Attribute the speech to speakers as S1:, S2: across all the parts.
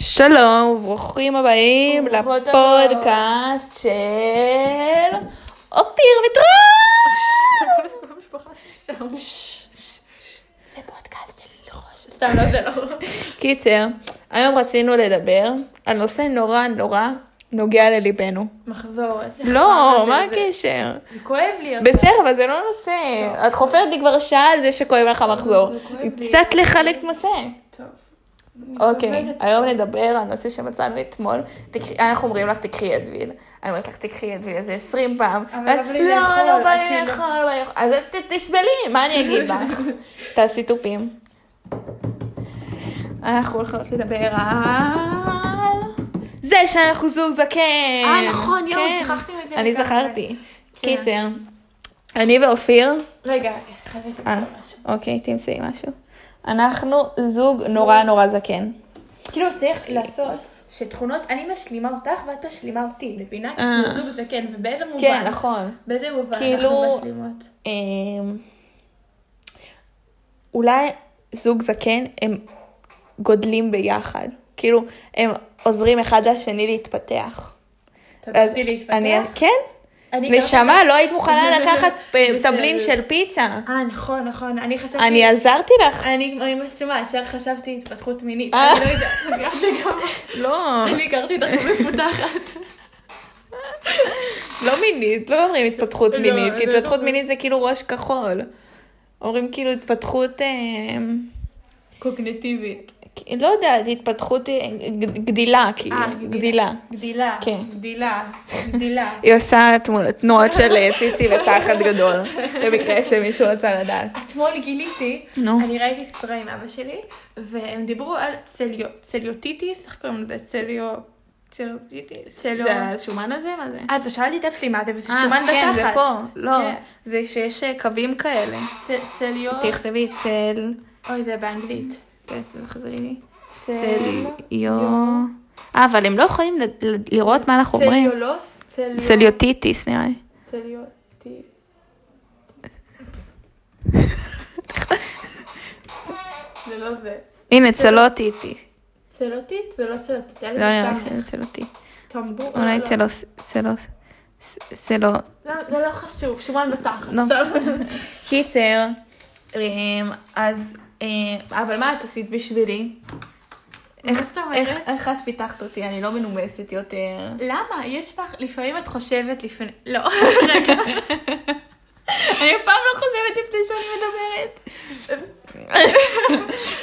S1: שלום וברוכים הבאים
S2: וברוכים
S1: לפודקאסט של אופיר וטרום!
S2: המשפחה שלי שם.
S1: זה פודקאסט של חושך.
S2: סתם, לא, זה לא.
S1: קיצר, היום רצינו לדבר על נושא נורא נורא נוגע לליבנו.
S2: מחזור, איזה חרא
S1: לא,
S2: זה,
S1: מה
S2: זה-
S1: הקשר?
S2: זה כואב לי.
S1: בסדר, אבל זה לא נושא. את חופרת לי כבר שעה על זה שכואב לך מחזור.
S2: זה כואב לי.
S1: קצת לחלף נושא.
S2: טוב.
S1: אוקיי, היום נדבר על נושא שמצאנו אתמול. תקחי- אנחנו אומרים לך, תקחי אדוויל. אני אומרת לך, תקחי אדוויל איזה 20 פעם.
S2: אבל לא
S1: ואת,
S2: בא לי לאכול,
S1: לא בא לי
S2: אני לא-
S1: לאכול, לא בא לי לאכול. אז ת- תסבלי, מה אני אגיד לך? תעשי תופים. אנחנו הולכות לדבר על... זה שאנחנו זוג זקן.
S2: אה, נכון, יואו,
S1: כן.
S2: שכחתי מזה
S1: אני
S2: לגמרי.
S1: זכרתי.
S2: כן.
S1: קיצר, אני ואופיר,
S2: רגע, רגע, חייבת למצוא
S1: אה,
S2: משהו.
S1: אוקיי, תמצאי משהו. אנחנו זוג נורא נורא זקן.
S2: כאילו צריך לעשות שתכונות, אני משלימה אותך ואת משלימה אותי, מבינה?
S1: אה.
S2: כאילו זוג זקן, ובאיזה מובן?
S1: כן, נכון.
S2: באיזה מובן
S1: כאילו-
S2: אנחנו משלימות?
S1: אמ, אולי זוג זקן הם גודלים ביחד, כאילו הם עוזרים אחד לשני להתפתח.
S2: אתה
S1: אז
S2: תתחיל להתפתח?
S1: אני, כן,
S2: אני גם-
S1: נשמה, לא היית מוכנה לקחת
S2: בסדר.
S1: טבלין של פיצה.
S2: אה, נכון, נכון. אני חשבתי...
S1: אני עזרתי לך.
S2: אני אני מסכימה, ישר חשבתי התפתחות מינית.
S1: אה.
S2: אני לא יודעת, זה גם-
S1: לא,
S2: אני הכרתי אותך מפותחת.
S1: לא מינית, לא אומרים התפתחות
S2: לא,
S1: מינית, כי
S2: זה
S1: התפתחות
S2: לא-
S1: מינית זה כאילו ראש כחול. אומרים כאילו התפתחות, אמ,
S2: קוגניטיבית.
S1: לא יודעת, התפתחות אה, ג- גדילה, כאילו,
S2: אה, גדילה.
S1: גדילה.
S2: גדילה,
S1: כן.
S2: גדילה, גדילה.
S1: היא עושה תמונות, תנועות של אה, ציצי ותחת גדול, במקרה שמישהו רצה לדעת.
S2: אתמול גיליתי,
S1: נו.
S2: אני ראיתי סדרה עם אבא שלי, והם דיברו על צליו, צליוטיטיס, איך קוראים לזה? צליו... צליוטיטיס? צליו...
S1: זה השומן הזה? מה זה?
S2: אז שאלתי את אבא שלי מה לא- זה, וזה
S1: אה,
S2: שומן בתחת.
S1: כן, זה פה. לא,
S2: כן.
S1: זה שיש אה, קווים כאלה.
S2: צ- צליו...
S1: תכתבי צל...
S2: אוי, זה באנגלית.
S1: כן, תחזרי לי.
S2: צל...
S1: צליו... אה, אבל הם לא יכולים ל- ל- לראות מה אנחנו אומרים.
S2: צליולוס? צליו-
S1: צליוטיטיס נראה לי.
S2: צליוטי... זה לא זה.
S1: הנה, צלוטיטי.
S2: צלוטית? זה לא צלוטית.
S1: לא נראה לי שזה צלוטיטי.
S2: טמבור.
S1: אולי
S2: לא, לא.
S1: צלוס... צלוס... צלו...
S2: לא, זה לא חשוב, שומן בתחת.
S1: לא
S2: טוב.
S1: קיצר, אמ, אז, אמ, אבל מה את עשית בשבילי? איך-
S2: זאת אומרת?
S1: איך איך את פיתחת אותי? אני לא מנומסת יותר.
S2: למה? יש לך, לפעמים את חושבת לפני... לא, רגע.
S1: אני אף פעם לא חושבת לפני שאני מדברת.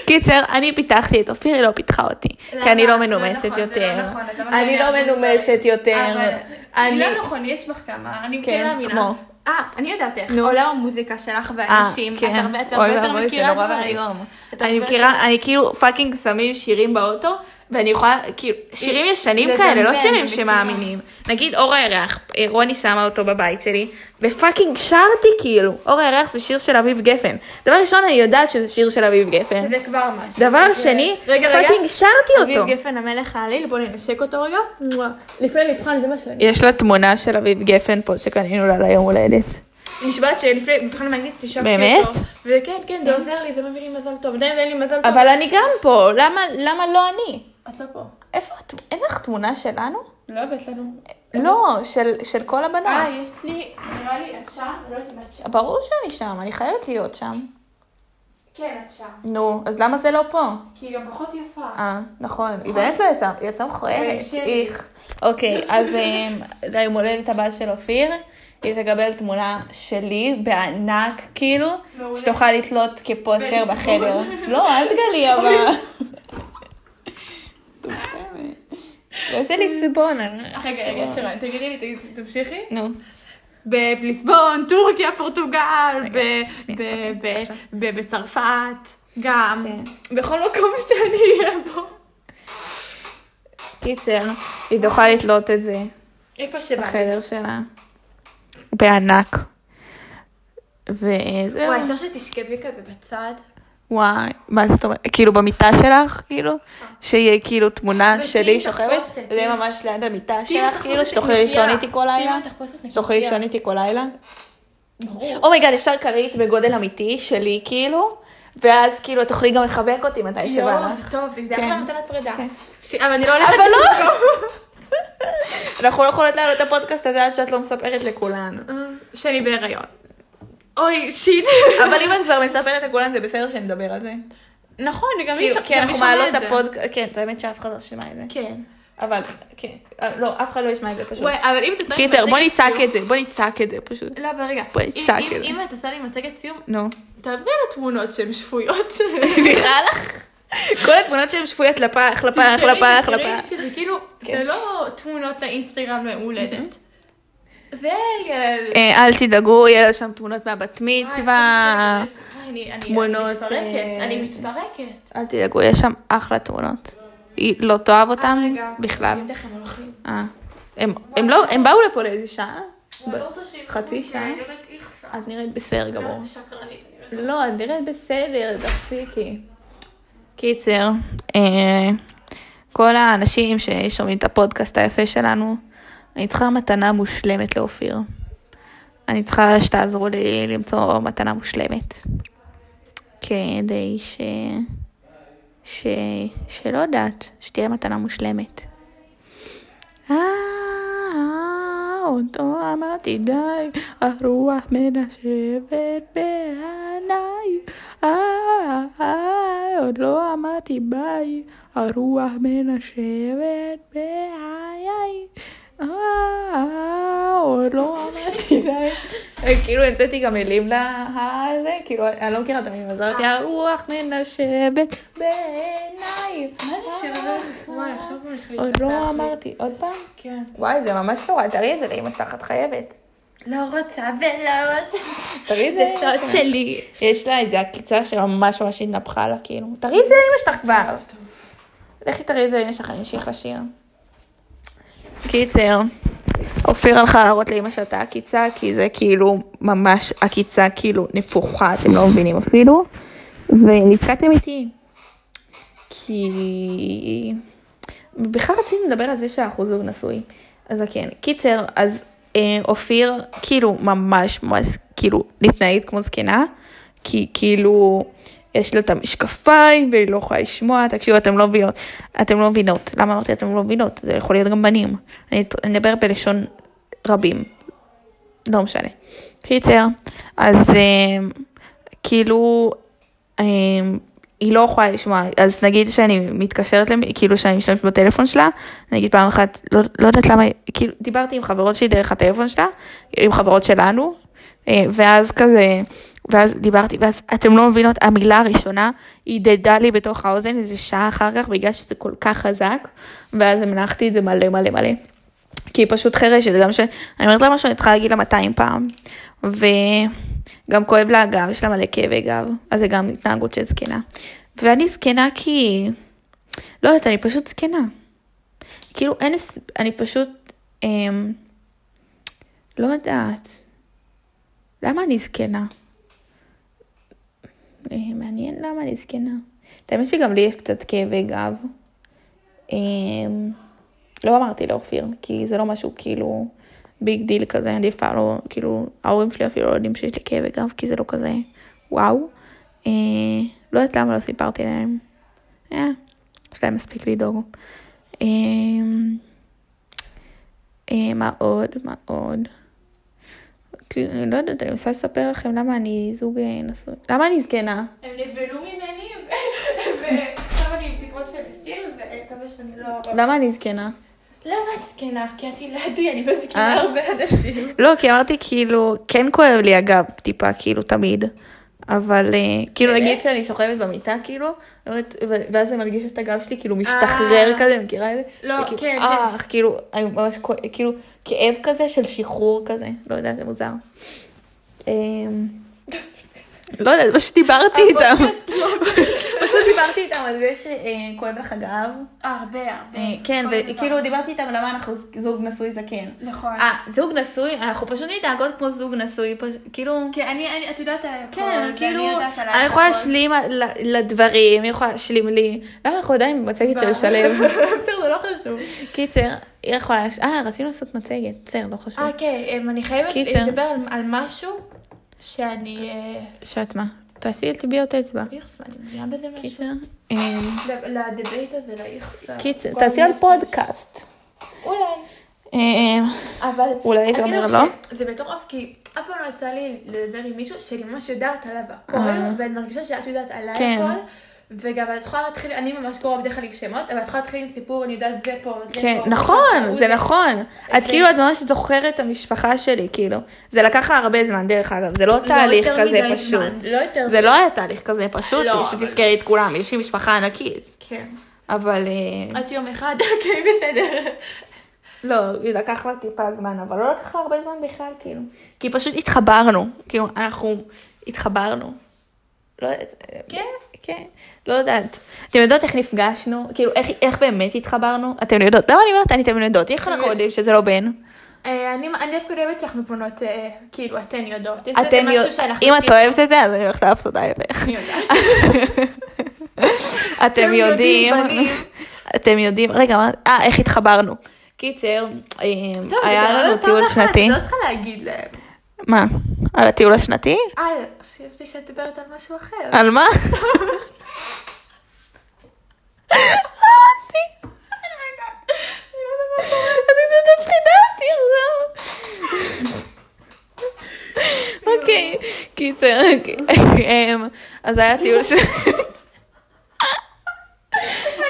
S1: קיצר, אני פיתחתי את אופיר, היא לא פיתחה אותי. כי אני לא
S2: למה?
S1: מנומסת
S2: נכון, זה
S1: יותר.
S2: לא נכון, את לא
S1: אני לא
S2: מאמינה.
S1: מנומסת יותר.
S2: אבל-
S1: אני-
S2: לא נכון, יש בך כמה, אני
S1: כן,
S2: כן מאמינה.
S1: כמו.
S2: אה, אני יודעת איך.
S1: נו.
S2: עולם המוזיקה שלך והאנשים, את
S1: כן.
S2: הרבה את הרבה
S1: אוי
S2: יותר
S1: ואבוי, זה
S2: מכירה
S1: נורא
S2: דברים.
S1: ואיום.
S2: את הרבה
S1: אני
S2: יותר-
S1: מכירה, אני כאילו פאקינג שמים שירים באוטו, ואני יכולה, כאילו, שירים ישנים
S2: זה
S1: כאלה, לא
S2: זמזם,
S1: שירים
S2: זה
S1: שמאמינים. נגיד אור הירח, אה, רוני שמה אותו בבית שלי, ופאקינג שרתי כאילו. אור הירח זה שיר של אביב גפן. דבר ראשון, אני יודעת שזה שיר של אביב גפן.
S2: שזה כבר משהו.
S1: דבר
S2: זה-
S1: שני,
S2: רגע, רגע.
S1: פאקינג שרתי אותו.
S2: אביב גפן המלך העליל, בואו ננשק אותו רגע. מואה. לפני מבחן זה מה שאני...
S1: יש לה תמונה של אביב גפן פה שקנינו לה ליום הולדת.
S2: נשבעת שלפני מבחן מאנגלית נשקתי אותו.
S1: באמת?
S2: וכן, כן, זה עוזר לי, זה מביא לי מזל טוב. עדיין אין לי מזל טוב.
S1: אבל אני גם פה, למה- למה לא אני?
S2: את לא פה.
S1: איפה את? אין לך תמונה שלנו?
S2: לא הבאת לנו.
S1: לא, של, של כל
S2: אה,
S1: הבנות.
S2: יש לי, נראה לי, את שם, לא יודעת אם את שם.
S1: ברור שאני שם, אני חייבת להיות שם.
S2: כן, את שם.
S1: נו, אז למה זה לא פה?
S2: כי היא גם פחות יפה.
S1: אה, נכון, היא באמת לא יצאה, היא יצאה מכוערת.
S2: אה, שלי.
S1: איך. אוקיי, אז אמ, ליום הולדת הבא של אופיר, היא תקבל תמונה שלי בענק, כאילו,
S2: מעולה.
S1: שתוכל לתלות כפוסטר
S2: ולסגור.
S1: בחדר. לא, אל תגלי אבל. איזה ליסבון. אני- לא
S2: אה, רגע, רגע, יש לי רעיון. תגידי לי, תגידי, תמשיכי.
S1: נו.
S2: בליסבון, טורקיה, פורטוגל, ב-
S1: שנייה,
S2: ב-
S1: אוקיי,
S2: ב-
S1: עכשיו. כן.
S2: ב- בצרפת, גם. בכל מקום שאני אהיה בו.
S1: קיצר, היא תוכל לתלות את זה.
S2: איפה שבא.
S1: בחדר שלה. בענק. וזהו.
S2: וואי, אפשר שתשכבי כזה בצד?
S1: וואי, מה זאת אומרת? כאילו במיטה שלך, כאילו? שיהיה כאילו תמונה
S2: ותהיי
S1: שלי
S2: תחפושת,
S1: שוכבת? זה
S2: תהיי-
S1: ממש ליד המיטה
S2: תהיי
S1: שלך,
S2: בתחפושת
S1: כאילו? שתוכלי
S2: נקייה.
S1: לישון איתי כל
S2: תהיי
S1: לילה?
S2: בתחפושת נקייה.
S1: שתוכלי לישון איתי כל לילה?
S2: ברור.
S1: אומייגאד, אפשר כרית בגודל אמיתי שלי, כאילו? ואז כאילו את תוכלי גם לחבק אותי מתי שבא
S2: יואו,
S1: לך.
S2: זה טוב, זה
S1: כן.
S2: אחלה מתנת פרידה.
S1: כן.
S2: ש- אבל אני לא הולכת...
S1: אבל לא! אנחנו לא יכולות לעלות את הפודקאסט הזה עד שאת לא מספרת לכולן.
S2: אה, שאני בהיריון. אוי, שיט.
S1: אבל אם את כבר מספרת לכולן זה בסדר שנדבר על זה.
S2: נכון, גם מי
S1: כאילו,
S2: ש-
S1: כי
S2: גם מי
S1: אנחנו
S2: שומע
S1: מעלות
S2: את
S1: את
S2: זה.
S1: הפודקאסט, כן, האמת שאף אחד לא שמע את זה.
S2: כן.
S1: אבל, כן, אה, לא, אף אחד לא ישמע את זה פשוט.
S2: וואי, כאילו. אבל אם את עושה לי
S1: קיצר, בוא
S2: מצגת
S1: נצעק
S2: סיום-
S1: את זה, בוא נצעק את זה פשוט.
S2: לא, אבל רגע.
S1: בואי
S2: אם-
S1: נצעק
S2: אם-
S1: את זה.
S2: אם את עושה לי מצגת סיום,
S1: נו.
S2: תעברי על התמונות שהן שפויות.
S1: נראה לך? כל התמונות שהן שפויות לפח, לפח,
S2: תראי,
S1: לפח,
S2: תראי
S1: לפח.
S2: שזה כאילו,
S1: לא כן.
S2: זה לא תמונות לאינסטגרם להולדת. זה... אה,
S1: אה, אל תדאגו, יהיה שם תמונות מהבת
S2: וואי,
S1: מצווה.
S2: אני- אני- אני
S1: תמונות,
S2: מתפרקת,
S1: אה,
S2: אני מתפרקת.
S1: אל תדאגו, יש שם אחלה תמונות. היא לא תאהב אותם
S2: אה, רגע,
S1: בכלל.
S2: אני תכף הולכים.
S1: אה. הם- הם לא, הם באו לפה לאיזה שעה?
S2: אני לא רוצה שיראו
S1: חצי
S2: אותי,
S1: שעה?
S2: אני נראית איכסה.
S1: את נראית בסדר גמור.
S2: לא, שקרנית, אני נראית-
S1: לא, את נראית בסדר, תפסיקי. קיצר, אה, כל האנשים ששומעים את הפודקאסט היפה שלנו, אני צריכה מתנה מושלמת לאופיר. אני צריכה שתעזרו לי למצוא מתנה מושלמת. כדי ש... ש... שלא יודעת, שתהיה מתנה מושלמת. אה, עוד לא אמרתי די, הרוח מנשבת בעיניי. אה, אה, עוד לא אמרתי ביי, הרוח מנשבת בעיניי. אה, אה, עוד לא אמרתי די. כאילו המצאתי גם מילים לזה, כאילו אני לא מכירה את המילים, אז אמרתי הרוח מנשבת בעיניי. אה,
S2: מה זה השיר הזה? אה, וואי, עכשיו הוא מתחיל
S1: עוד
S2: להתפתח
S1: לא
S2: לי.
S1: אמרתי, עוד פעם?
S2: כן.
S1: וואי, זה ממש נורא, תראי את זה לאמא שלך, את חייבת.
S2: לא רוצה ולא רוצה.
S1: תראי את זה.
S2: זה סוד שלי.
S1: יש לה איזה עקיצה שממש ממש התנפחה לה, כאילו. תראי את זה לאמא שלך כבר. לכי תראי את זה לאמא שלך, אני אמשיך לשיר. קיצר, אופיר הלכה להראות לאמא שלה את העקיצה, כי זה כאילו ממש עקיצה כאילו נפוחה, אתם לא מבינים אפילו. ונתקעתם איתי. כי... בכלל רצינו לדבר על זה שאנחנו זוג נשוי. אז זה כן. קיצר, אז אה, אופיר כאילו ממש ממש כאילו מתנהגת כמו זקנה, כי כאילו יש לה את המשקפיים והיא לא יכולה לשמוע, תקשיבו, אתם לא מבינות. אתם לא מבינות. למה אמרתי אתם לא מבינות? זה יכול להיות גם בנים. אני אני אדבר בלשון רבים. לא משנה. קיצר, אז אה, כאילו, אה, היא לא יכולה לשמוע, אז נגיד שאני מתקשרת, למי, כאילו שאני משתמשת בטלפון שלה, נגיד פעם אחת, לא, לא יודעת למה, כאילו, דיברתי עם חברות שלי דרך הטלפון שלה, עם חברות שלנו, אה, ואז כזה, ואז דיברתי, ואז אתם לא מבינות, המילה הראשונה הדהדה לי בתוך האוזן איזה שעה אחר כך, בגלל שזה כל כך חזק, ואז המלכתי את זה מלא מלא מלא. כי היא פשוט חירשת, גם שאני אומרת לה משהו, אני צריכה להגיד לה 200 פעם. וגם כואב לה הגב, יש לה מלא כאבי גב, אז זה גם התנהגות של זקנה. ואני זקנה כי... לא יודעת, אני פשוט זקנה. כאילו אין... הס- אני פשוט... אמ... לא יודעת. למה אני זקנה? אה, מעניין למה אני זקנה. את האמת שגם לי יש קצת כאבי גב. אמ... לא אמרתי לאופיר, כי זה לא משהו כאילו ביג דיל כזה, אני אף פעם לא, כאילו, ההורים שלי אפילו לא יודעים שיש לי כאבי גב, כי זה לא כזה, וואו. אה, לא יודעת למה לא סיפרתי להם. אה, יש להם מספיק לדאוג. אה, אה, מה עוד? מה עוד? כאילו, אני לא יודעת, אני מנסה לספר לכם למה אני זוג אה, נשוי. למה אני זקנה?
S2: הם נבהלו ממני, ו- ועכשיו אני עם תקוות פלסטין, ואני מקווה שאני לא...
S1: למה אני זקנה?
S2: למה את זקנה? כי את ילדתי, אני מזכירה
S1: אה?
S2: הרבה אנשים.
S1: לא, כי אמרתי כאילו, כן כואב לי הגב טיפה, כאילו, תמיד. אבל אה, כאילו,
S2: באמת?
S1: נגיד שאני שוכבת במיטה, כאילו, אני אומרת, ו- ואז זה מרגיש את הגב שלי, כאילו, משתחרר
S2: אה.
S1: כזה, מכירה את זה?
S2: לא,
S1: וכאילו,
S2: כן,
S1: אה, כאילו, אני ממש כואב, כאילו, כאב כזה של שחרור כזה. לא יודעת, זה מוזר. אה, לא יודעת, פשוט דיברתי איתם.
S2: כן,
S1: פשוט דיברתי איתם על זה שכואב לך הגב.
S2: הרבה, הרבה.
S1: אה, כן,
S2: כל דבר.
S1: וכאילו, דיברתי איתם למה אנחנו זוג נשוי זקן.
S2: נכון.
S1: אה, זוג נשוי, אנחנו פשוט מתנהגות כמו זוג נשוי, פש- כאילו...
S2: כן, אני, אני- את יודעת על הכל,
S1: כן,
S2: ואני
S1: כאילו,
S2: יודעת על
S1: אני יכולה
S2: הכל.
S1: להשלים ל- לדברים, היא יכולה להשלים לי. למה אנחנו עדיין במצגת של שלו?
S2: בסדר, זה לא חשוב.
S1: קיצר, היא יכולה... להש- אה, רצינו לעשות מצגת, בסדר, לא חשוב.
S2: אה, כן, אמ, אני חייבת
S1: קיצר.
S2: לדבר על- על משהו שאני... אה,
S1: שאת מה? תעשי את טביעות אצבע.
S2: איכס, ואני מביאה בזה משהו.
S1: קיצר, אה,
S2: ל- לדיבייט הזה, לאיכס.
S1: קיצר,
S2: כל
S1: תעשי על
S2: מיני-
S1: פודקאסט.
S2: אולי.
S1: אה,
S2: אבל...
S1: אולי זה
S2: אני
S1: אומר
S2: חושבת
S1: לא?
S2: שזה מטורף, כי אף פעם לא יצא לי לדבר עם מישהו שאני ממש יודעת עליו הכל,
S1: אה.
S2: ואני מרגישה שאת יודעת עליי
S1: כן.
S2: הכל. וגם את יכולה להתחיל, אני ממש קוראה בדרך כלל עם שמות, אבל את יכולה להתחיל עם סיפור, אני יודעת זה פה, זה
S1: כן,
S2: פה.
S1: נכון,
S2: הוא
S1: זה נכון. את
S2: זה-
S1: כאילו, את ממש זוכרת את המשפחה שלי, כאילו. זה לקח לה הרבה זמן, דרך אגב. זה לא
S2: לא
S1: תהליך
S2: יותר
S1: כזה
S2: מדי
S1: פשוט.
S2: זמן, לא יותר
S1: זה לא היה תהליך כזה פשוט,
S2: לא,
S1: שתזכרי את כולם, יש לי משפחה ענקית.
S2: כן.
S1: אבל... אה,
S2: עד שיום אחד, אוקיי, בסדר.
S1: לא, לקח לה טיפה זמן, אבל לא לקח לה הרבה זמן בכלל, כאילו. כי פשוט התחברנו, כאילו, אנחנו התחברנו. לא יודעת. אה,
S2: כן.
S1: כן, לא יודעת. אתם יודעות איך נפגשנו? כאילו, איך, איך באמת התחברנו? אתם יודעות. למה אני אומרת, אני אתם יודעות, איך אנחנו יודעים שזה לא בן?
S2: אה, אני אני דווקא אוהבת שאנחנו פונות, אה, כאילו, אתן יודעות. יש
S1: אתן
S2: איזה משהו
S1: יודעות,
S2: שאנחנו
S1: אם את
S2: כאילו-
S1: אוהבת את זה, אז אני הולכת לאהוב תודה לבך.
S2: אני יודעת.
S1: אתם יודעים,
S2: בנים.
S1: אתם יודעים, רגע, מה- אה, איך התחברנו. קיצר, אה,
S2: טוב,
S1: היה
S2: אבל
S1: לנו
S2: פעם
S1: טיול
S2: אחת,
S1: שנתי.
S2: לא צריכה להגיד להם.
S1: מה? על הטיול השנתי?
S2: אה, חשבתי שאת מדברת על משהו אחר.
S1: על מה? את קצת מפחידה אותי עכשיו. אוקיי, קיצר, אוקיי. אמ, אז היה טיול ש...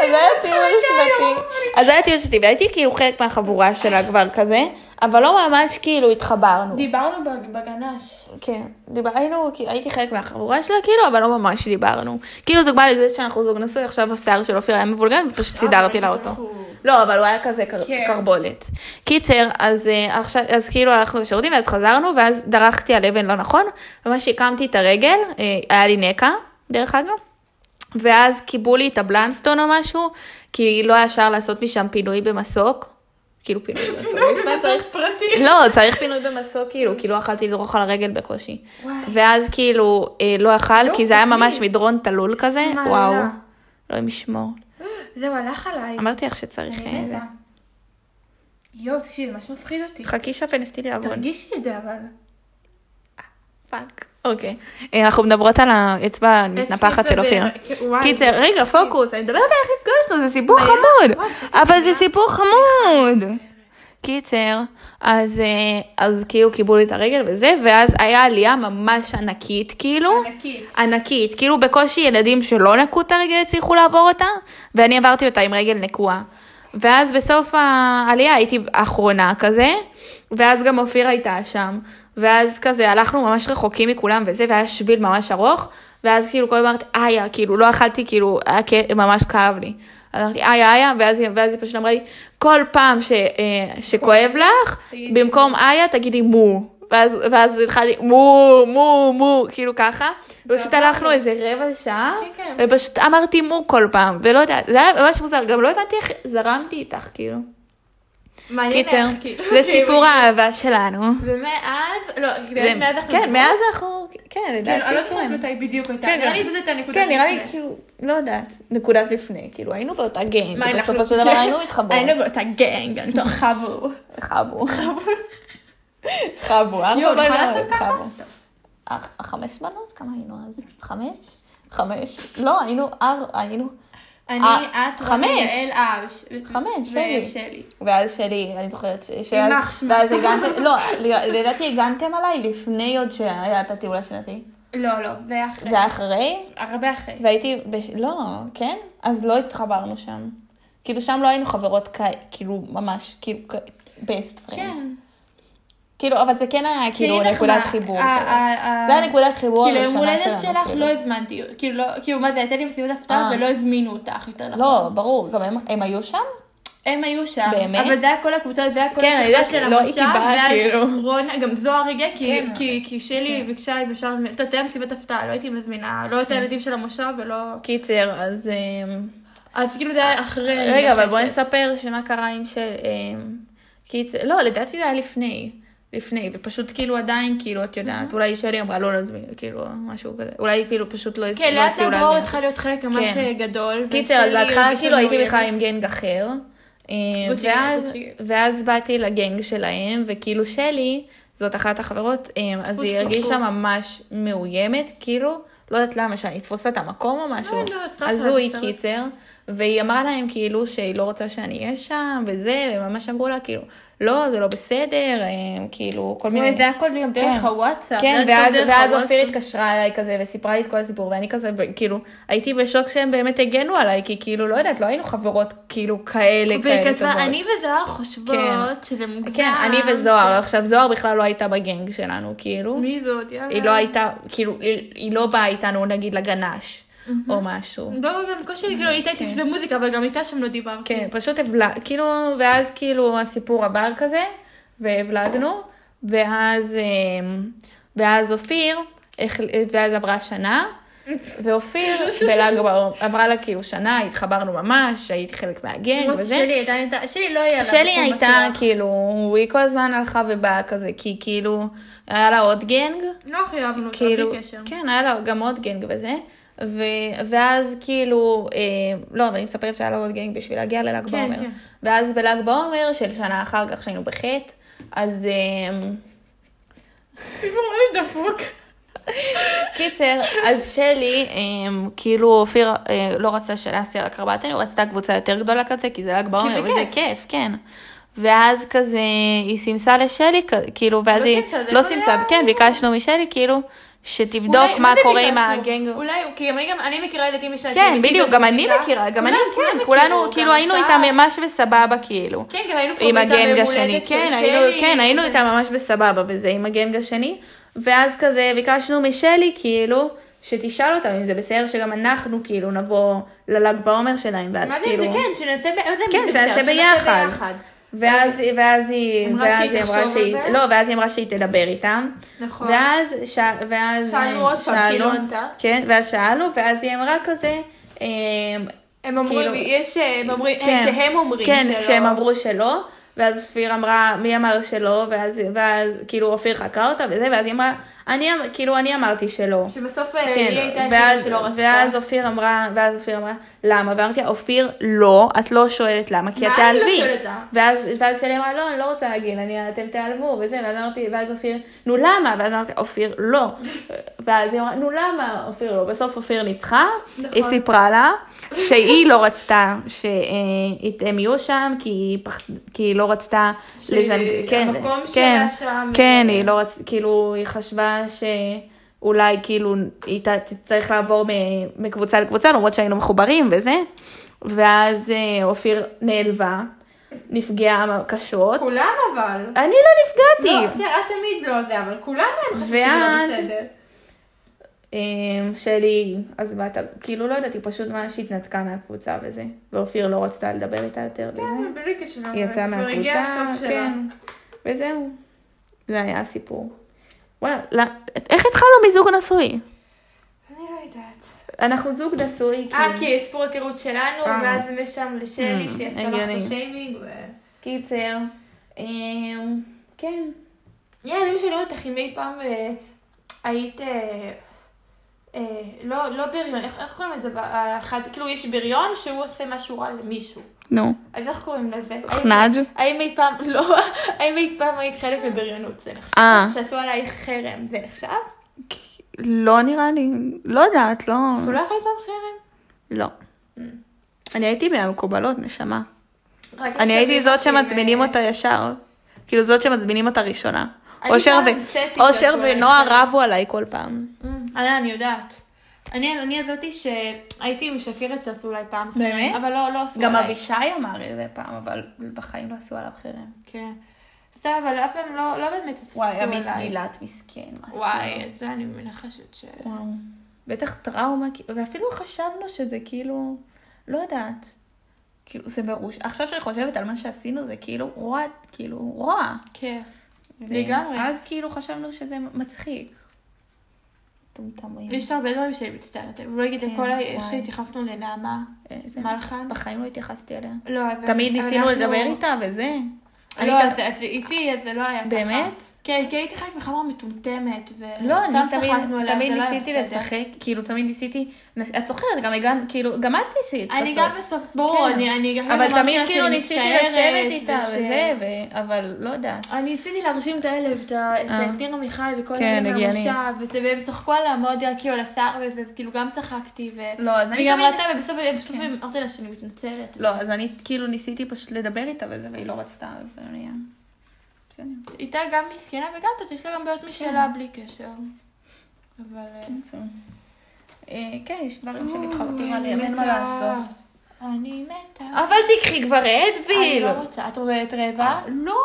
S1: אז היה טיול שנתי, אז היה טיול שנתי, והייתי כאילו חלק מהחבורה שלה כבר כזה, אבל לא ממש כאילו התחברנו.
S2: דיברנו בג- בגנש.
S1: כן, דיבר, היינו, כי- הייתי חלק מהחבורה שלה, כאילו, אבל לא ממש דיברנו. כאילו, דוגמה לזה שאנחנו זוג נשוי, עכשיו השיער של אופיר היה מבולגן, ופשוט סידרתי לה אותו. לא, אבל הוא היה כזה קר...
S2: כן.
S1: קרבולת. קיצר, אז, אה, עכשיו, אז כאילו הלכנו לשירותים, ואז חזרנו, ואז דרכתי על אבן לא נכון, ממש הקמתי את הרגל, אה, היה לי נקע, דרך אגב, ואז קיבלו לי את הבלנסטון או משהו, כי לא היה אפשר לעשות משם פינוי במסוק. כאילו פינוי במסוק, נשמע צריך
S2: פרטי.
S1: לא, צריך פינוי במסוק, כאילו, כי לא יכלתי לדרוך על הרגל בקושי. ואז כאילו, אה, לא יכל,
S2: לא,
S1: כי זה היה
S2: תגידי.
S1: ממש מדרון תלול כזה,
S2: שמאלה.
S1: וואו. אלוהים ישמור.
S2: זהו, הלך עליי.
S1: אמרתי לך שצריך...
S2: אני
S1: אה, זה.
S2: מתה. יואו, תקשיבי, זה ממש מפחיד אותי.
S1: חכי שהפלסטיני יעבוד.
S2: תרגישי את זה, אבל.
S1: פאק. אוקיי. אה, אנחנו מדברות על האצבע המתנפחת של
S2: אצבע
S1: אופיר.
S2: ב- וואי.
S1: קיצר, רגע, פוקוס, אני מדברת על איך התגשנו, זה סיפור חמוד. אבל זה סיפור חמוד. קיצר, אז, אה, אז כאילו קיבלו לי את הרגל וזה, ואז היה עלייה ממש ענקית, כאילו.
S2: ענקית.
S1: ענקית, כאילו בקושי ילדים שלא נקעו את הרגל הצליחו לעבור אותה, ואני עברתי אותה עם רגל נקועה. ואז בסוף העלייה הייתי אחרונה כזה, ואז גם אופיר הייתה שם, ואז כזה הלכנו ממש רחוקים מכולם וזה, והיה שביל ממש ארוך, ואז כאילו כל הזמן אמרתי, איה, כאילו לא אכלתי, כאילו, היה כ- ממש כאב לי. אז אמרתי, איה, איה, ואז, היא- ואז היא פשוט אמרה לי, כל פעם ש, אה, שכואב לך,
S2: תגידי
S1: במקום איה תגידי מו. ואז, ואז התחלתי מו, מו, מו, כאילו ככה. ופשוט
S2: ועברנו.
S1: הלכנו איזה רבע שעה,
S2: כן, כן.
S1: ופשוט אמרתי מו כל פעם, ולא יודעת, זה היה ממש מוזר, גם לא הבנתי איך זרמתי איתך, כאילו.
S2: מעניין
S1: קיצר,
S2: איך, כאילו.
S1: זה
S2: אוקיי,
S1: סיפור האהבה שלנו.
S2: ומאז, לא,
S1: זה-
S2: באמת מאז אנחנו...
S1: כן, מאז אנחנו, כן,
S2: כאילו, אני לא
S1: לדעתי,
S2: זוכרת
S1: כן.
S2: מתי בדיוק הייתה.
S1: כן,
S2: נראה
S1: גם.
S2: לי זאת הייתה נקודה.
S1: כן, נראה לי,
S2: לפני.
S1: כאילו, לא יודעת, נקודת לפני, כאילו, היינו באותה גנג,
S2: מה, אנחנו- כן.
S1: ובסופו של דבר היינו מתחברות.
S2: היינו באותה גנג, אני תוך חבור.
S1: חבו. חבו, ארבע
S2: יואו, נוכל לעשות
S1: בנות,
S2: ככה?
S1: חבו. הח- חמש בנות? כמה היינו אז? חמש? חמש. לא, היינו אר... היינו...
S2: אני,
S1: אה,
S2: את,
S1: חמש.
S2: רוני, יעל ארש.
S1: חמש, שלי.
S2: ושלי.
S1: ואז שלי, אני זוכרת ש... ש-
S2: יימח שמה.
S1: ואז הגנתם, לא, לדעתי הגנתם עליי לפני עוד שהיה את הטיול השנתי.
S2: לא, לא, זה היה אחרי.
S1: זה היה אחרי?
S2: הרבה אחרי.
S1: והייתי, בש... לא, כן? אז לא התחברנו שם. כאילו שם לא היינו חברות כ... כאילו ממש, כאילו best friends.
S2: כן.
S1: כאילו, אבל זה כן היה כאילו
S2: כי אין לך
S1: נקודת
S2: מה-
S1: חיבור.
S2: ה-
S1: כזה.
S2: ה-
S1: זה
S2: ה-
S1: הנקודת חיבור
S2: אה, כאילו, יום
S1: הראשונה
S2: הולדת
S1: שלנו.
S2: שלך
S1: כאילו.
S2: לא הזמנתי, כאילו, לא- כאילו, מה זה, הייתה לי מסיבת הפתעה
S1: אה.
S2: ולא הזמינו אותך, יותר נכון.
S1: לא, ברור, גם הם- הם היו שם?
S2: הם היו שם.
S1: באמת?
S2: אבל זה היה כל הקבוצה, זה היה כל
S1: כן, אני
S2: השכבה
S1: יודעת,
S2: של
S1: לא הייתי
S2: המושב,
S1: באה, כאילו.
S2: ואז רונה, גם זוהר הגיע, כי-
S1: כן. כן.
S2: כי- כי שלי ביקשה אם אפשר להזמין, טוב, תהיה מסיבת הפתעה, לא הייתי מזמינה, לא את הילדים של המושב ולא...
S1: קיצר, אז... אמ,
S2: אז כאילו זה היה אחרי...
S1: רגע, אבל בואי
S2: אחרי ש-
S1: נספר שמה קרה עם של... אמ, קיצר, לא, לדעתי זה היה לפני. לפני, ופשוט כאילו עדיין, כאילו, את יודעת, אולי שלי אמרה לא להזמין, כאילו, משהו כזה. אולי כאילו פשוט לא
S2: כן,
S1: הסכימו
S2: לאט לאט דרור
S1: להזמין.
S2: התחילה להיות חלק ממש
S1: כן.
S2: גדול.
S1: קיצר, אז
S2: ושלי
S1: בהתחלה
S2: הרגישה
S1: כאילו הייתי
S2: מאוימת.
S1: בכלל עם גנג אחר. אה,
S2: גוצ'י,
S1: ואז-
S2: גוצ'י.
S1: ואז באתי לגנג שלהם, וכאילו שלי, זאת אחת החברות, אה, אז
S2: טפו,
S1: היא
S2: טפו,
S1: הרגישה
S2: טפו.
S1: ממש מאוימת, כאילו, לא יודעת למה, שאני אתפוס לה את המקום או משהו.
S2: יודעת, טוב,
S1: אז
S2: אבל
S1: הוא היא
S2: לא בסדר.
S1: קיצר, והיא אמרה להם כאילו שהיא לא רוצה שאני אהיה שם, וזה, והם ממש אמרו לה כאילו, לא, זה לא בסדר, הם, כאילו, כל מיני...
S2: וואי, זה הכל גם דרך
S1: כן.
S2: הוואטסאפ.
S1: כן,
S2: זה הכל
S1: ואז,
S2: דרך
S1: ואז
S2: הוואטסאפ.
S1: אופיר התקשרה אליי כזה וסיפרה לי את כל הסיפור, ואני כזה, ב- כאילו, הייתי בשוק שהם באמת הגנו עליי, כי כאילו, לא יודעת, לא היינו חברות כאילו כאלה, כאלה
S2: והיא כתבה, אני וזוהר חושבות
S1: כן.
S2: שזה מוגזם.
S1: כן, אני
S2: ש-
S1: וזוהר. עכשיו, זוהר בכלל לא הייתה בגנג שלנו, כאילו.
S2: מי זאת? יאללה.
S1: היא לא הייתה, כאילו, היא היא לא באה איתנו, נגיד, לגנש, או משהו.
S2: לא, גם קושי, כאילו, היא הייתה איתי במוזיקה, אבל גם איתה שם לא דיברתי.
S1: כן, פשוט הבלה, כאילו, ואז כאילו הסיפור עבר כזה, והבלגנו, ואז, אמ, ואז אופיר, החל- ואז עברה שנה, ואופיר בל"ג בעומר, עברה לה כאילו שנה, התחברנו ממש, הייתי חלק מהגנג
S2: למרות
S1: וזה.
S2: שלי הייתה- הייתה, שלי לא היה לה
S1: שלי
S2: מקום
S1: הייתה
S2: בטוח.
S1: כאילו, היא כל הזמן הלכה ובאה כזה, כי כאילו, היה לה עוד גנג,
S2: לא הכי אהבנו אותה,
S1: כאילו,
S2: בלי קשר.
S1: כן, היה לה גם עוד גנג וזה, ו, ואז כאילו, אה, לא, אבל אני מספרת שהיה לה עוד גנג בשביל להגיע לל"ג
S2: כן,
S1: בעומר.
S2: כן.
S1: ואז בל"ג בעומר של שנה אחר כך, שהיינו בחטא, אז אה,
S2: סיפור דפוק.
S1: קיצר, אז שלי, אה, כאילו, אופיר אה, לא רצה שנעשה רק ארבעת ימים, הוא רצתה קבוצה יותר גדולה כזה, כי זה ל"ג בעומר,
S2: זה
S1: וזה
S2: כיף.
S1: כיף, כן. ואז כזה, היא סימסה לשלי, כ- כאילו, ואז
S2: לא
S1: היא,
S2: סימסה, זה
S1: לא
S2: כבר
S1: סימסה,
S2: היה-
S1: כן, ביקשנו משלי, כאילו, שתבדוק
S2: אולי-
S1: מה
S2: זה
S1: קורה עם
S2: ביקשנו.
S1: הגנג.
S2: אולי, כי אני גם, אני מכירה ילדים משנה.
S1: כן, בדיוק, גם אני מכירה, גם אני, כן, כולנו, כאילו, היינו איתה ממש בסבבה, כאילו.
S2: כן, גם היינו כבר
S1: עם
S2: באיתה
S1: הגנג
S2: ביום
S1: השני,
S2: הולדת של
S1: כן,
S2: שלי.
S1: היינו, כן, היינו איתה ממש בסבבה וזה, עם הגנג השני. ואז כזה ביקשנו משלי, כאילו, שתשאל אותם אם זה בסדר שגם אנחנו, כאילו, נבוא לל"ג בעומר שלהם, ואז
S2: מה זה אם
S1: כאילו...
S2: זה כן, שנעשה ב- איזה
S1: כן,
S2: מגזר,
S1: שנעשה ביחד. ואז, ואז היא,
S2: אמרה
S1: ואז
S2: שהיא
S1: היא אמרה
S2: תחשוב על
S1: שהיא,
S2: זה?
S1: לא, ואז היא אמרה שהיא תדבר איתם.
S2: נכון.
S1: ואז, ש... ואז,
S2: שאלנו עוד פעם,
S1: שאלנו,
S2: כאילו, ענתה?
S1: כן, ואז שאלנו, ואז היא אמרה כזה, אמ,
S2: הם אומרים,
S1: כאילו-
S2: יש, אה, הם אומרים,
S1: כן.
S2: שהם אומרים
S1: כן,
S2: שלא.
S1: שהם אמרו שלא, ואז אופיר אמרה, מי אמר שלא, ואז, ואז כאילו אופיר חקר אותה וזה, ואז היא אמרה, אני, אמ- כאילו אני אמרתי שלא.
S2: שבסוף אה, היא
S1: כן,
S2: הייתה היחידה
S1: ואז,
S2: שלא רצתה.
S1: ואז אופיר אמרה, ואז אופיר אמרה, למה? ואמרתי לה, אופיר, לא, את לא שואלת למה, כי את
S2: מה אני לא
S1: תעלבי.
S2: שואלת למה?
S1: ואז, ואז שלי אמרה, לא, אני לא רוצה להגיד, אני, אתם תיעלבו, וזה, ואז אמרתי, ואז אופיר, נו למה? ואז אמרתי, אופיר, לא. ואז היא אמרה, נו למה, אופיר, לא. בסוף אופיר ניצחה,
S2: נכון.
S1: היא סיפרה לה שהיא לא רצתה שהם יהיו שם, כי היא, פח... כי היא לא רצתה
S2: שהיא-
S1: לז'נ- כן,
S2: המקום
S1: כן,
S2: שלה שם.
S1: כן, היא לא רצתה, כאילו, היא חשבה שאולי כאילו היא ת- תצטרך לעבור מ- מקבוצה לקבוצה, למרות שהיינו מחוברים וזה. ואז אה, אופיר נעלבה, נפגעה קשות.
S2: כולם אבל.
S1: אני לא
S2: לא,
S1: נפגעתי.
S2: בסדר, את תמיד לא זה, אבל כולם הם חשבו שזה
S1: ואז-
S2: לא בסדר.
S1: אמ, שלי עזבה את ה... כאילו, לא יודעת, היא פשוט ממש התנתקה מהקבוצה וזה. ואופיר לא רצתה לדבר איתה יותר. בזה.
S2: בלי קשר.
S1: כן. היא יצאה
S2: כן, כבר הגיע
S1: מהקבוצה,
S2: הסוף שלה.
S1: כן. וזהו. זה היה הסיפור. וואלה, לא- איך התחלנו מזוג נשוי?
S2: אני לא יודעת.
S1: אנחנו זוג נשוי,
S2: אה,
S1: כי...
S2: כי סיפור היכרות שלנו,
S1: כן. אה.
S2: ואז משם לשלי,
S1: Mm,
S2: שעשתה לך
S1: הגיוני.
S2: את השיימינג. ו-
S1: קיצר, אמ, כן.
S2: יא, זה מה שאני אומרת לך, אם אי פעם אה, היית... אה, אה, לא, לא בריון, איך איך קוראים לזה? האחד, כאילו יש בריון שהוא עושה משהו רע למישהו.
S1: נו.
S2: אז איך קוראים לזה? האם-
S1: חנאג'?
S2: האם אי פעם, לא, האם אי פעם היית חלק מבריונות? זה נחשב?
S1: אה.
S2: שעשו עלייך חרם, זה נחשב?
S1: לא נראה לי. לא יודעת, לא...
S2: עשו לך אי פעם חרם?
S1: לא.
S2: אה.
S1: אני הייתי מהמקובלות, נשמה.
S2: רק
S1: אני הייתי
S2: עכשיו
S1: זאת שמזמינים
S2: אה,
S1: אותה ישר. כאילו זאת שמזמינים אותה ראשונה.
S2: אני
S1: אושר
S2: פעם
S1: ו-
S2: המצאתי
S1: אושר
S2: משהו,
S1: ונועה רבו עליי כל פעם.
S2: אה, אני יודעת. אני, אני הזאתי שהייתי משקרת שעשו אולי פעם. חרם,
S1: באמת?
S2: אבל לא, לא עשו
S1: גם
S2: עליי.
S1: אבישי אמר את זה פעם, אבל בחיים לא עשו עליו חרם.
S2: כן. סתם, אבל אף פעם לא, לא באמת עשו
S1: וואי,
S2: עליי.
S1: עמית גילת מסכן. מה עשו
S2: וואי,
S1: לו?
S2: את זה אני מנחשת ש...
S1: וואו. בטח טראומה, כאילו, ואפילו חשבנו שזה כאילו, לא יודעת. כאילו, זה מרוש. עכשיו שאני חושבת על מה שעשינו, זה כאילו רוע, כאילו, רוע.
S2: כן. לגמרי.
S1: אז כאילו חשבנו שזה מצחיק. מטומטמים.
S2: יש הרבה דברים שאני מצטערת עליהם. אולי נגיד
S1: כן,
S2: לכל ה... איך
S1: וואי.
S2: שהתייחסנו לנעמה
S1: איזה-
S2: מלחן.
S1: אה, בחיים לא התייחסתי אליה.
S2: לא, אז...
S1: תמיד
S2: אבל
S1: ניסינו
S2: אנחנו-
S1: לדבר איתה וזה.
S2: לא,
S1: אני
S2: אז- אז איתי אז זה לא היה ככה.
S1: באמת?
S2: כן, כי הייתי חלק מחברה מטומטמת, וסתם
S1: לא, אני תמיד,
S2: אה, צחקנו עליה,
S1: תמיד
S2: זה לא היה
S1: ניסיתי
S2: בסדר.
S1: לשחק, כאילו, תמיד ניסיתי, את זוכרת, גם הגענו, כאילו, גם את ניסית בסוף.
S2: אני גם בסוף, ברור,
S1: כן.
S2: אני אני גם
S1: אבל
S2: אמרתי
S1: תמיד
S2: לה
S1: כאילו
S2: שאני
S1: ניסיתי
S2: מצטערת,
S1: לשבת איתה
S2: וש-
S1: וזה, ו- אבל לא יודעת.
S2: אני ניסיתי להרשים את האלה, את ה-
S1: אה.
S2: את נירה מיכל וכל
S1: כן,
S2: הילדים
S1: הגיוני.
S2: מהמושב, וזה, והם צחקו עליה מאוד, כאילו, על השיער וזה, אז כאילו גם צחקתי, ו...
S1: לא, אז אני כן.
S2: היא גם
S1: תמיד...
S2: ראתה, ובסוף בסוף אמרתי לה שאני מתנצלת.
S1: לא, אז אני כאילו ניסיתי פשוט לדבר איתה וזה, והיא לא רצתה, אז אני... בסדר.
S2: איתה גם מסכנה וגם זאת, יש לה גם בעיות משלה
S1: כן.
S2: בלי קשר. אבל... אה,
S1: אה, כן, יש דברים שמתחרטים
S2: אוי,
S1: עליהם,
S2: אני
S1: אין מה
S2: מתה.
S1: לעשות.
S2: אני מתה.
S1: אבל תקחי כבר
S2: אני
S1: אדוויל.
S2: לא רוצה. את רואה- את רעבה?
S1: לא.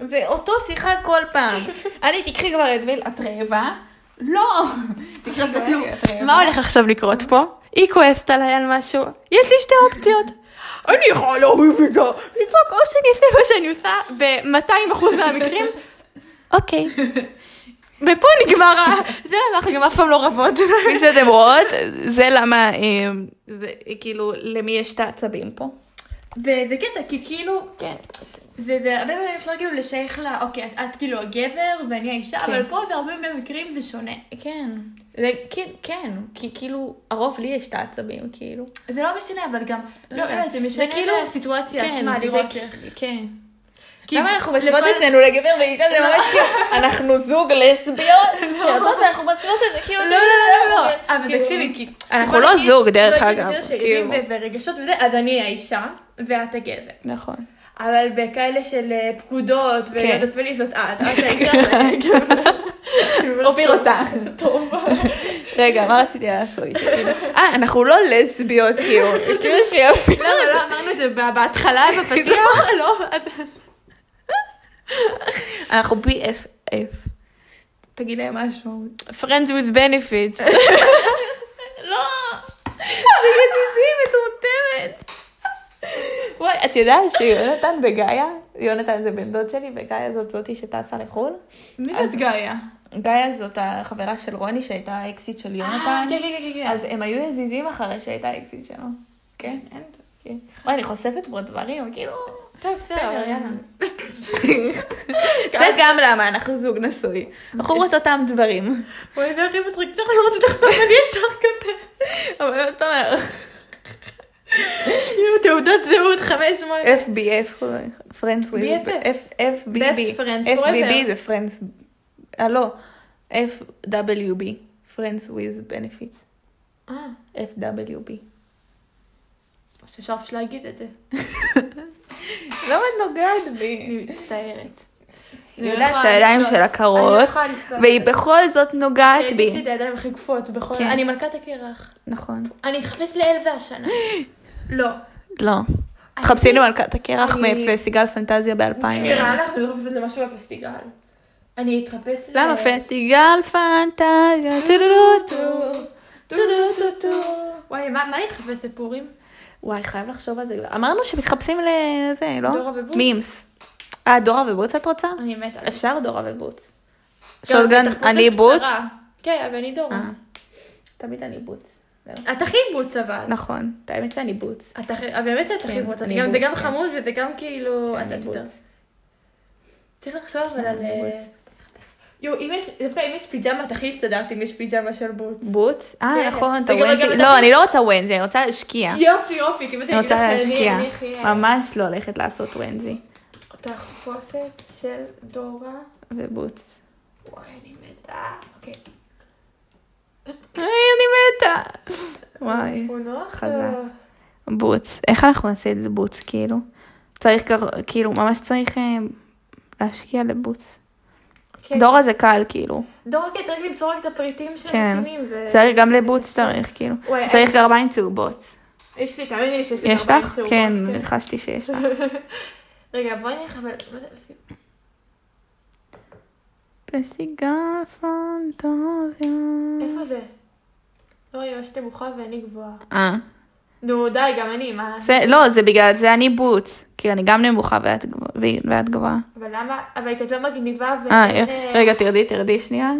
S1: זה אותו שיחה כל פעם. אני תקחי כבר אדוויל, את רעבה? לא. תקחי
S2: עכשיו זה
S1: כבר,
S2: כלום.
S1: את רעבה.
S2: מה הולך עכשיו לקרות פה? היא כועסת עליי על משהו, יש לי שתי אופציות. אני יכולה לא מבינה, לצעוק או שאני אעשה מה שאני עושה ב-200% מהמקרים, אוקיי. ופה נגמר ה... זה למה אנחנו גם אף פעם לא רבות.
S1: כפי שאתם רואות, זה למה, אה, זה כאילו, למי יש את העצבים פה.
S2: וזה קטע, כי כאילו,
S1: כן.
S2: זה זה הרבה פעמים אפשר כאילו לשייך לה, אוקיי, את- את כאילו הגבר ואני האישה,
S1: כן.
S2: אבל פה זה הרבה במקרים זה שונה.
S1: כן. זה כן, כן, כי כאילו, הרוב לי יש את העצבים, כאילו.
S2: זה לא משנה, אבל גם, לא,
S1: לא,
S2: לא, זה משנה
S1: כאילו-
S2: לסיטואציה
S1: כן,
S2: עצמה,
S1: זה
S2: לראות
S1: כ-
S2: איך.
S1: כן.
S2: כי
S1: למה אנחנו משוות
S2: לכל-
S1: אצלנו לגבר ואישה, זה ממש כאילו, אנחנו זוג לסביות, שיוצאות ואנחנו משוות את זה, כאילו,
S2: לא, לא, לא, לא, לא, אבל
S1: כאילו-
S2: תקשיבי, כי...
S1: אנחנו
S2: בוא
S1: לא
S2: נגיד-
S1: זוג, דרך
S2: בוא נגיד
S1: אגב,
S2: שיש
S1: כאילו.
S2: ילדים ו- ורגשות וזה, אז אני האישה, ואת הגבר.
S1: נכון.
S2: אבל בכאלה של אה, פקודות,
S1: כן.
S2: ולהיות עצבנית זאת את, את האישה ואני הגבר.
S1: אופיר עושה.
S2: טוב.
S1: רגע, מה רציתי לעשות? כאילו, אה, אנחנו לא לסביות, כאילו, כאילו יש לי אפילו...
S2: למה לא אמרנו את זה ב- בהתחלה, בפתיח? לא.
S1: אנחנו BFF. תגיד להם משהו.
S2: Friends with benefits.
S1: לא! זה גזיזי מטומטמת. וואי, את יודעת שיונתן וגאיה, יונתן זה בן דוד שלי, וגאיה זאת זאתי שטסה לחו"ל.
S2: מי זאת גאיה?
S1: גאיה זאת החברה של רוני שהייתה האקסיט של יונתן.
S2: כן, כן, כן, כן.
S1: אז הם היו יזיזים אחרי שהייתה האקסיט שלו. כן? כן. וואי, אני חושפת פה דברים, כאילו...
S2: טוב, בסדר,
S1: בסדר,
S2: יאללה.
S1: זה גם למה אנחנו זוג נשוי. אנחנו רואות אותם דברים.
S2: אוי, ואיך היא מצחיקה, אני רוצה לדבר, אני ישר כותבת.
S1: אבל עוד פעם,
S2: כאילו, תעודת זהות, חמש מאות.
S1: FBF, Friends with...
S2: BFF.
S1: F- FBB.
S2: Best friends
S1: FBB
S2: forever.
S1: זה Friends... אה, לא. FWB. Friends with benefits.
S2: אה,
S1: FWB.
S2: שאפשר פשוט להגיד את זה.
S1: למה את נוגעת בי?
S2: אני מצטערת. לא
S1: היא יודעת שהידיים שלה קרות, והיא בכל זאת נוגעת
S2: אה, יש לי
S1: בי.
S2: את הידיים הכי גפות בכל...
S1: כן.
S2: אני מלכת הקרח.
S1: נכון.
S2: אני אתחפש לאלזה השנה. לא.
S1: לא. חפשי לי מלכת הקרח
S2: אני-
S1: מפסטיגל פנטזיה ב-2000.
S2: נראה לך, אני לא חושבת למשהו בפסטיגל. אני אתחפש... ל-
S1: למה פסטיגל פנטזיה? טו-דו-דו-דו.
S2: טו-טו-טו-טו. וואי, מה מה אני אתחפש לפורים?
S1: וואי, חייב לחשוב על זה. אמרנו שמתחפשים לזה, לא?
S2: דורה ובוץ.
S1: מימס. אה, דורה ובוץ את רוצה?
S2: אני מתה. על זה.
S1: אפשר דורה ובוץ.
S2: גם,
S1: שולגן,
S2: התחפושת
S1: אני בוץ?
S2: קצרה. כן, אבל אני דורה.
S1: אה. תמיד אני בוץ. זהו.
S2: את הכי בוץ אבל.
S1: נכון, את האמת שאני בוץ.
S2: את הכי- אה, באמת שאת הכי
S1: כן,
S2: בוץ. את
S1: אני
S2: גם- זה
S1: בוץ,
S2: גם
S1: כן.
S2: חמוד וזה גם כאילו...
S1: אני
S2: את- את-
S1: בוץ.
S2: צריך לחשוב אבל על...
S1: אני בוץ.
S2: יואו, אם יש, דווקא אם יש פיג'מה, את הכי הסתדרת אם יש פיג'מה של בוץ.
S1: בוץ? אה,
S2: כן.
S1: נכון, אתה
S2: וגם- גם
S1: ווינזי.
S2: אתה-
S1: לא, אני לא רוצה ווינזי, אני רוצה להשקיע.
S2: יופי, יופי, כי באמת
S1: כן. אני רוצה
S2: שאני-
S1: להשקיע.
S2: אני הכי...
S1: ממש לא הולכת לעשות ווינזי.
S2: תחפושת של דורה.
S1: ובוץ.
S2: וואי, אני מתה. אוקיי.
S1: היי, אני מתה. וואי.
S2: תמונות?
S1: חזק.
S2: או-
S1: בוץ. איך אנחנו נעשה את זה בוץ, כאילו? צריך כבר- כאילו, ממש צריך אה, להשקיע לבוץ.
S2: כן.
S1: דורה זה קל, כאילו.
S2: דורה, כן, צריך למצוא רק את הפריטים של
S1: כן.
S2: המתאימים. ו-
S1: צריך גם לבוץ צריך, כאילו.
S2: וואי,
S1: צריך גרביים צהובות.
S2: יש לי, תאמיני לי שיש לי
S1: יש
S2: גרביים
S1: לך?
S2: צהובות,
S1: כן, חשתי שיש לך.
S2: רגע, בואי נלך, אבל... מה זה עושים?
S1: פסטיגל פנטזיה.
S2: איפה זה? לא, היא ממש נמוכה ואני גבוהה.
S1: אה.
S2: נו, די, גם אני, מה?
S1: זה, לא, זה בגלל זה אני בוץ. כי אני גם נמוכה ואת גבוה- ו- ואת גבוהה.
S2: אבל למה? אבל היא כתבה מגניבה ו...
S1: אה, רגע, תרדי, תרדי שנייה.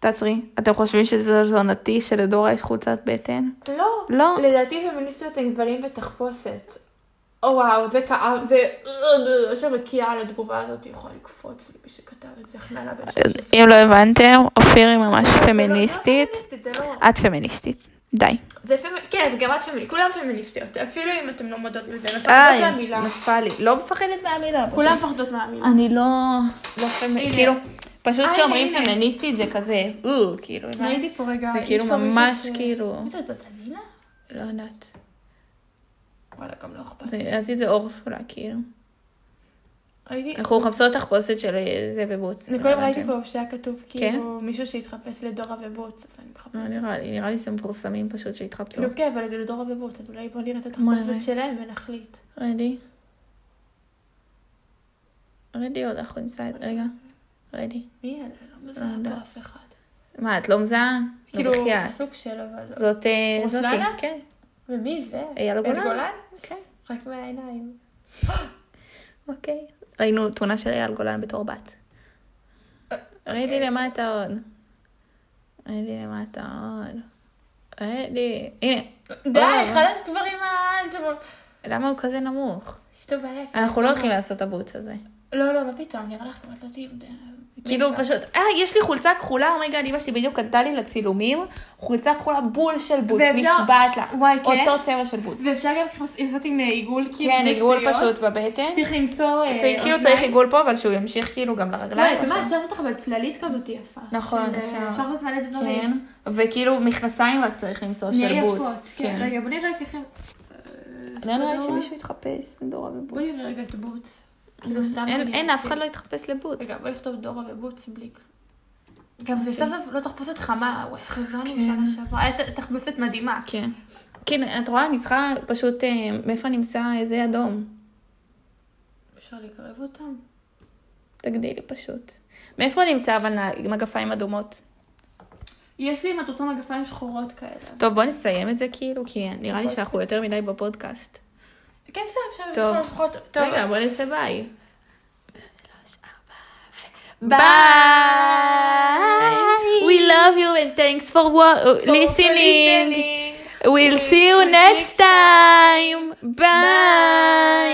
S1: תעצרי. אתם חושבים שזה זונתי שלדורה יש חולצת בטן?
S2: לא.
S1: לא.
S2: לדעתי פמיניסטיות הן גברים בתחפושת. או וואו, זה כאב, זה... שמקיאה על התגובה הזאת, יכול לקפוץ למי שכתב את זה, חננה בן 16.
S1: אם לא הבנתם, אופיר היא ממש
S2: זה לא- זה לא
S1: פמיניסטית.
S2: פמיניסטית, זה לא-
S1: את פמיניסטית. די.
S2: זה פמ- כן, זה גם את פמיניסטית, כולם פמיניסטיות, אפילו אם אתם לא מודות בזה, מפחדות
S1: איי,
S2: מהמילה.
S1: נפל אה, לי. לא מפחדת מהמילה.
S2: כולם מפחדות מהמילה.
S1: אני לא... לא פמיניסטית.
S2: הנה.
S1: כאילו, פשוט
S2: הנה,
S1: כשאומרים
S2: הנה.
S1: פמיניסטית זה כזה, או, כאילו, הבנת?
S2: ראיתי פה רגע...
S1: זה
S2: יש
S1: כאילו
S2: פה מישהו
S1: ממש
S2: ש-
S1: כאילו-
S2: מי זאת? זאת אלילה?
S1: לא יודעת.
S2: וואלה, גם לא אכפת.
S1: זה- לדעתי זה אורסולה, כאילו.
S2: ראיתי...
S1: אנחנו מחפשות תחפושת של אה, זה בבוץ.
S2: אני
S1: לא כן?
S2: קודם
S1: הבנתם.
S2: ראיתי פה שהיה כתוב כאילו מישהו שהתחפש לדורה ובוץ, אז אני מחפשת.
S1: לא, נראה לי, נראה לי שהם מפורסמים פשוט שהתחפשו.
S2: כאילו כן, אבל זה לדורה ובוץ, אז אולי בוא נראה את
S1: בוא נראה.
S2: התחפושת שלהם ונחליט.
S1: רדי. רדי עוד, אנחנו נמצא את... רגע. רדי.
S2: מי אלה? לא
S1: לא
S2: מזהה
S1: יודעת.
S2: פה אף אחד.
S1: מה, את לא מזהה?
S2: כאילו,
S1: כאילו... בחייאת.
S2: סוג של אבל... לא.
S1: זאת... אה,
S2: רוסלנה?
S1: זאתי. כן.
S2: ומי זה?
S1: אייל
S2: אל
S1: אה, לא גולן?
S2: גולן?
S1: כן.
S2: רק מהעיניים.
S1: אוקיי. ראינו תמונה של אייל גולן בתור בת. רדי למטה עוד. רדי למטה עוד. רדי. הנה. לא.
S2: די, חלאס כבר עם ה... זה מ-
S1: למה הוא כזה נמוך?
S2: יש לו בעיה.
S1: אנחנו לא הולכים לעשות את הבוץ הזה.
S2: לא, לא, מה פתאום, נראה לך כבר לא כן. תהיי...
S1: כאילו פשוט, אה, יש לי חולצה כחולה, אומייגאד, אמא שלי בדיוק קנתה לי לצילומים, חולצה כחולה בול של בוץ,
S2: ואפשר-
S1: נשבעת לך.
S2: וואי, כן?
S1: אותו צבע של בוץ.
S2: ואפשר גם לעשות עם עיגול כאילו
S1: כן,
S2: זה
S1: עיגול
S2: שטויות.
S1: פשוט בבטן.
S2: צריך למצוא... אה,
S1: צריך- כאילו צריך
S2: אוזניים.
S1: עיגול פה, אבל שהוא ימשיך כאילו גם
S2: לא,
S1: לרגליים.
S2: אתה מה,
S1: עכשיו.
S2: אפשר לעשות לך אבל צללית כזאת יפה.
S1: נכון,
S2: של, אה,
S1: אפשר.
S2: אפשר לעשות מלא
S1: כן,
S2: דברים.
S1: וכאילו מכנסיים רק צריך למצוא של
S2: נהיה
S1: בוץ.
S2: יפות. כן, רגע, בוא נראה ככה.
S1: לא נראה לי שמישהו יתחפש לדורה
S2: בוא
S1: בבוץ.
S2: נראה רגע את הבוץ. כאילו סתם...
S1: אין,
S2: אני
S1: אין, אף
S2: אעשה.
S1: אחד לא יתחפש לבוץ.
S2: רגע, בוא נכתוב דורה ובוץ בלי כלום. גם זה סוף סוף לא תחפושת חמה, וואי, חזרנו שנה שעברה. אה, הייתה תחפושת מדהימה.
S1: כן. כן, את רואה, אני צריכה פשוט, אה, מאיפה נמצא איזה אדום?
S2: אפשר לקרב אותם?
S1: תגדילי פשוט. מאיפה נמצא אבל מגפיים אדומות?
S2: יש לי, אם את רוצה, מגפיים שחורות כאלה.
S1: טוב, בוא נסיים את זה כאילו, כי נראה לי שאנחנו יותר מדי בפודקאסט.
S2: כן, בסדר, אפשר
S1: טוב.
S2: לפחות. טוב.
S1: רגע, בוא נעשה ביי.
S2: ביי!
S1: We love you and thanks for wa- listening.
S2: listening.
S1: We'll see you next time. Bye.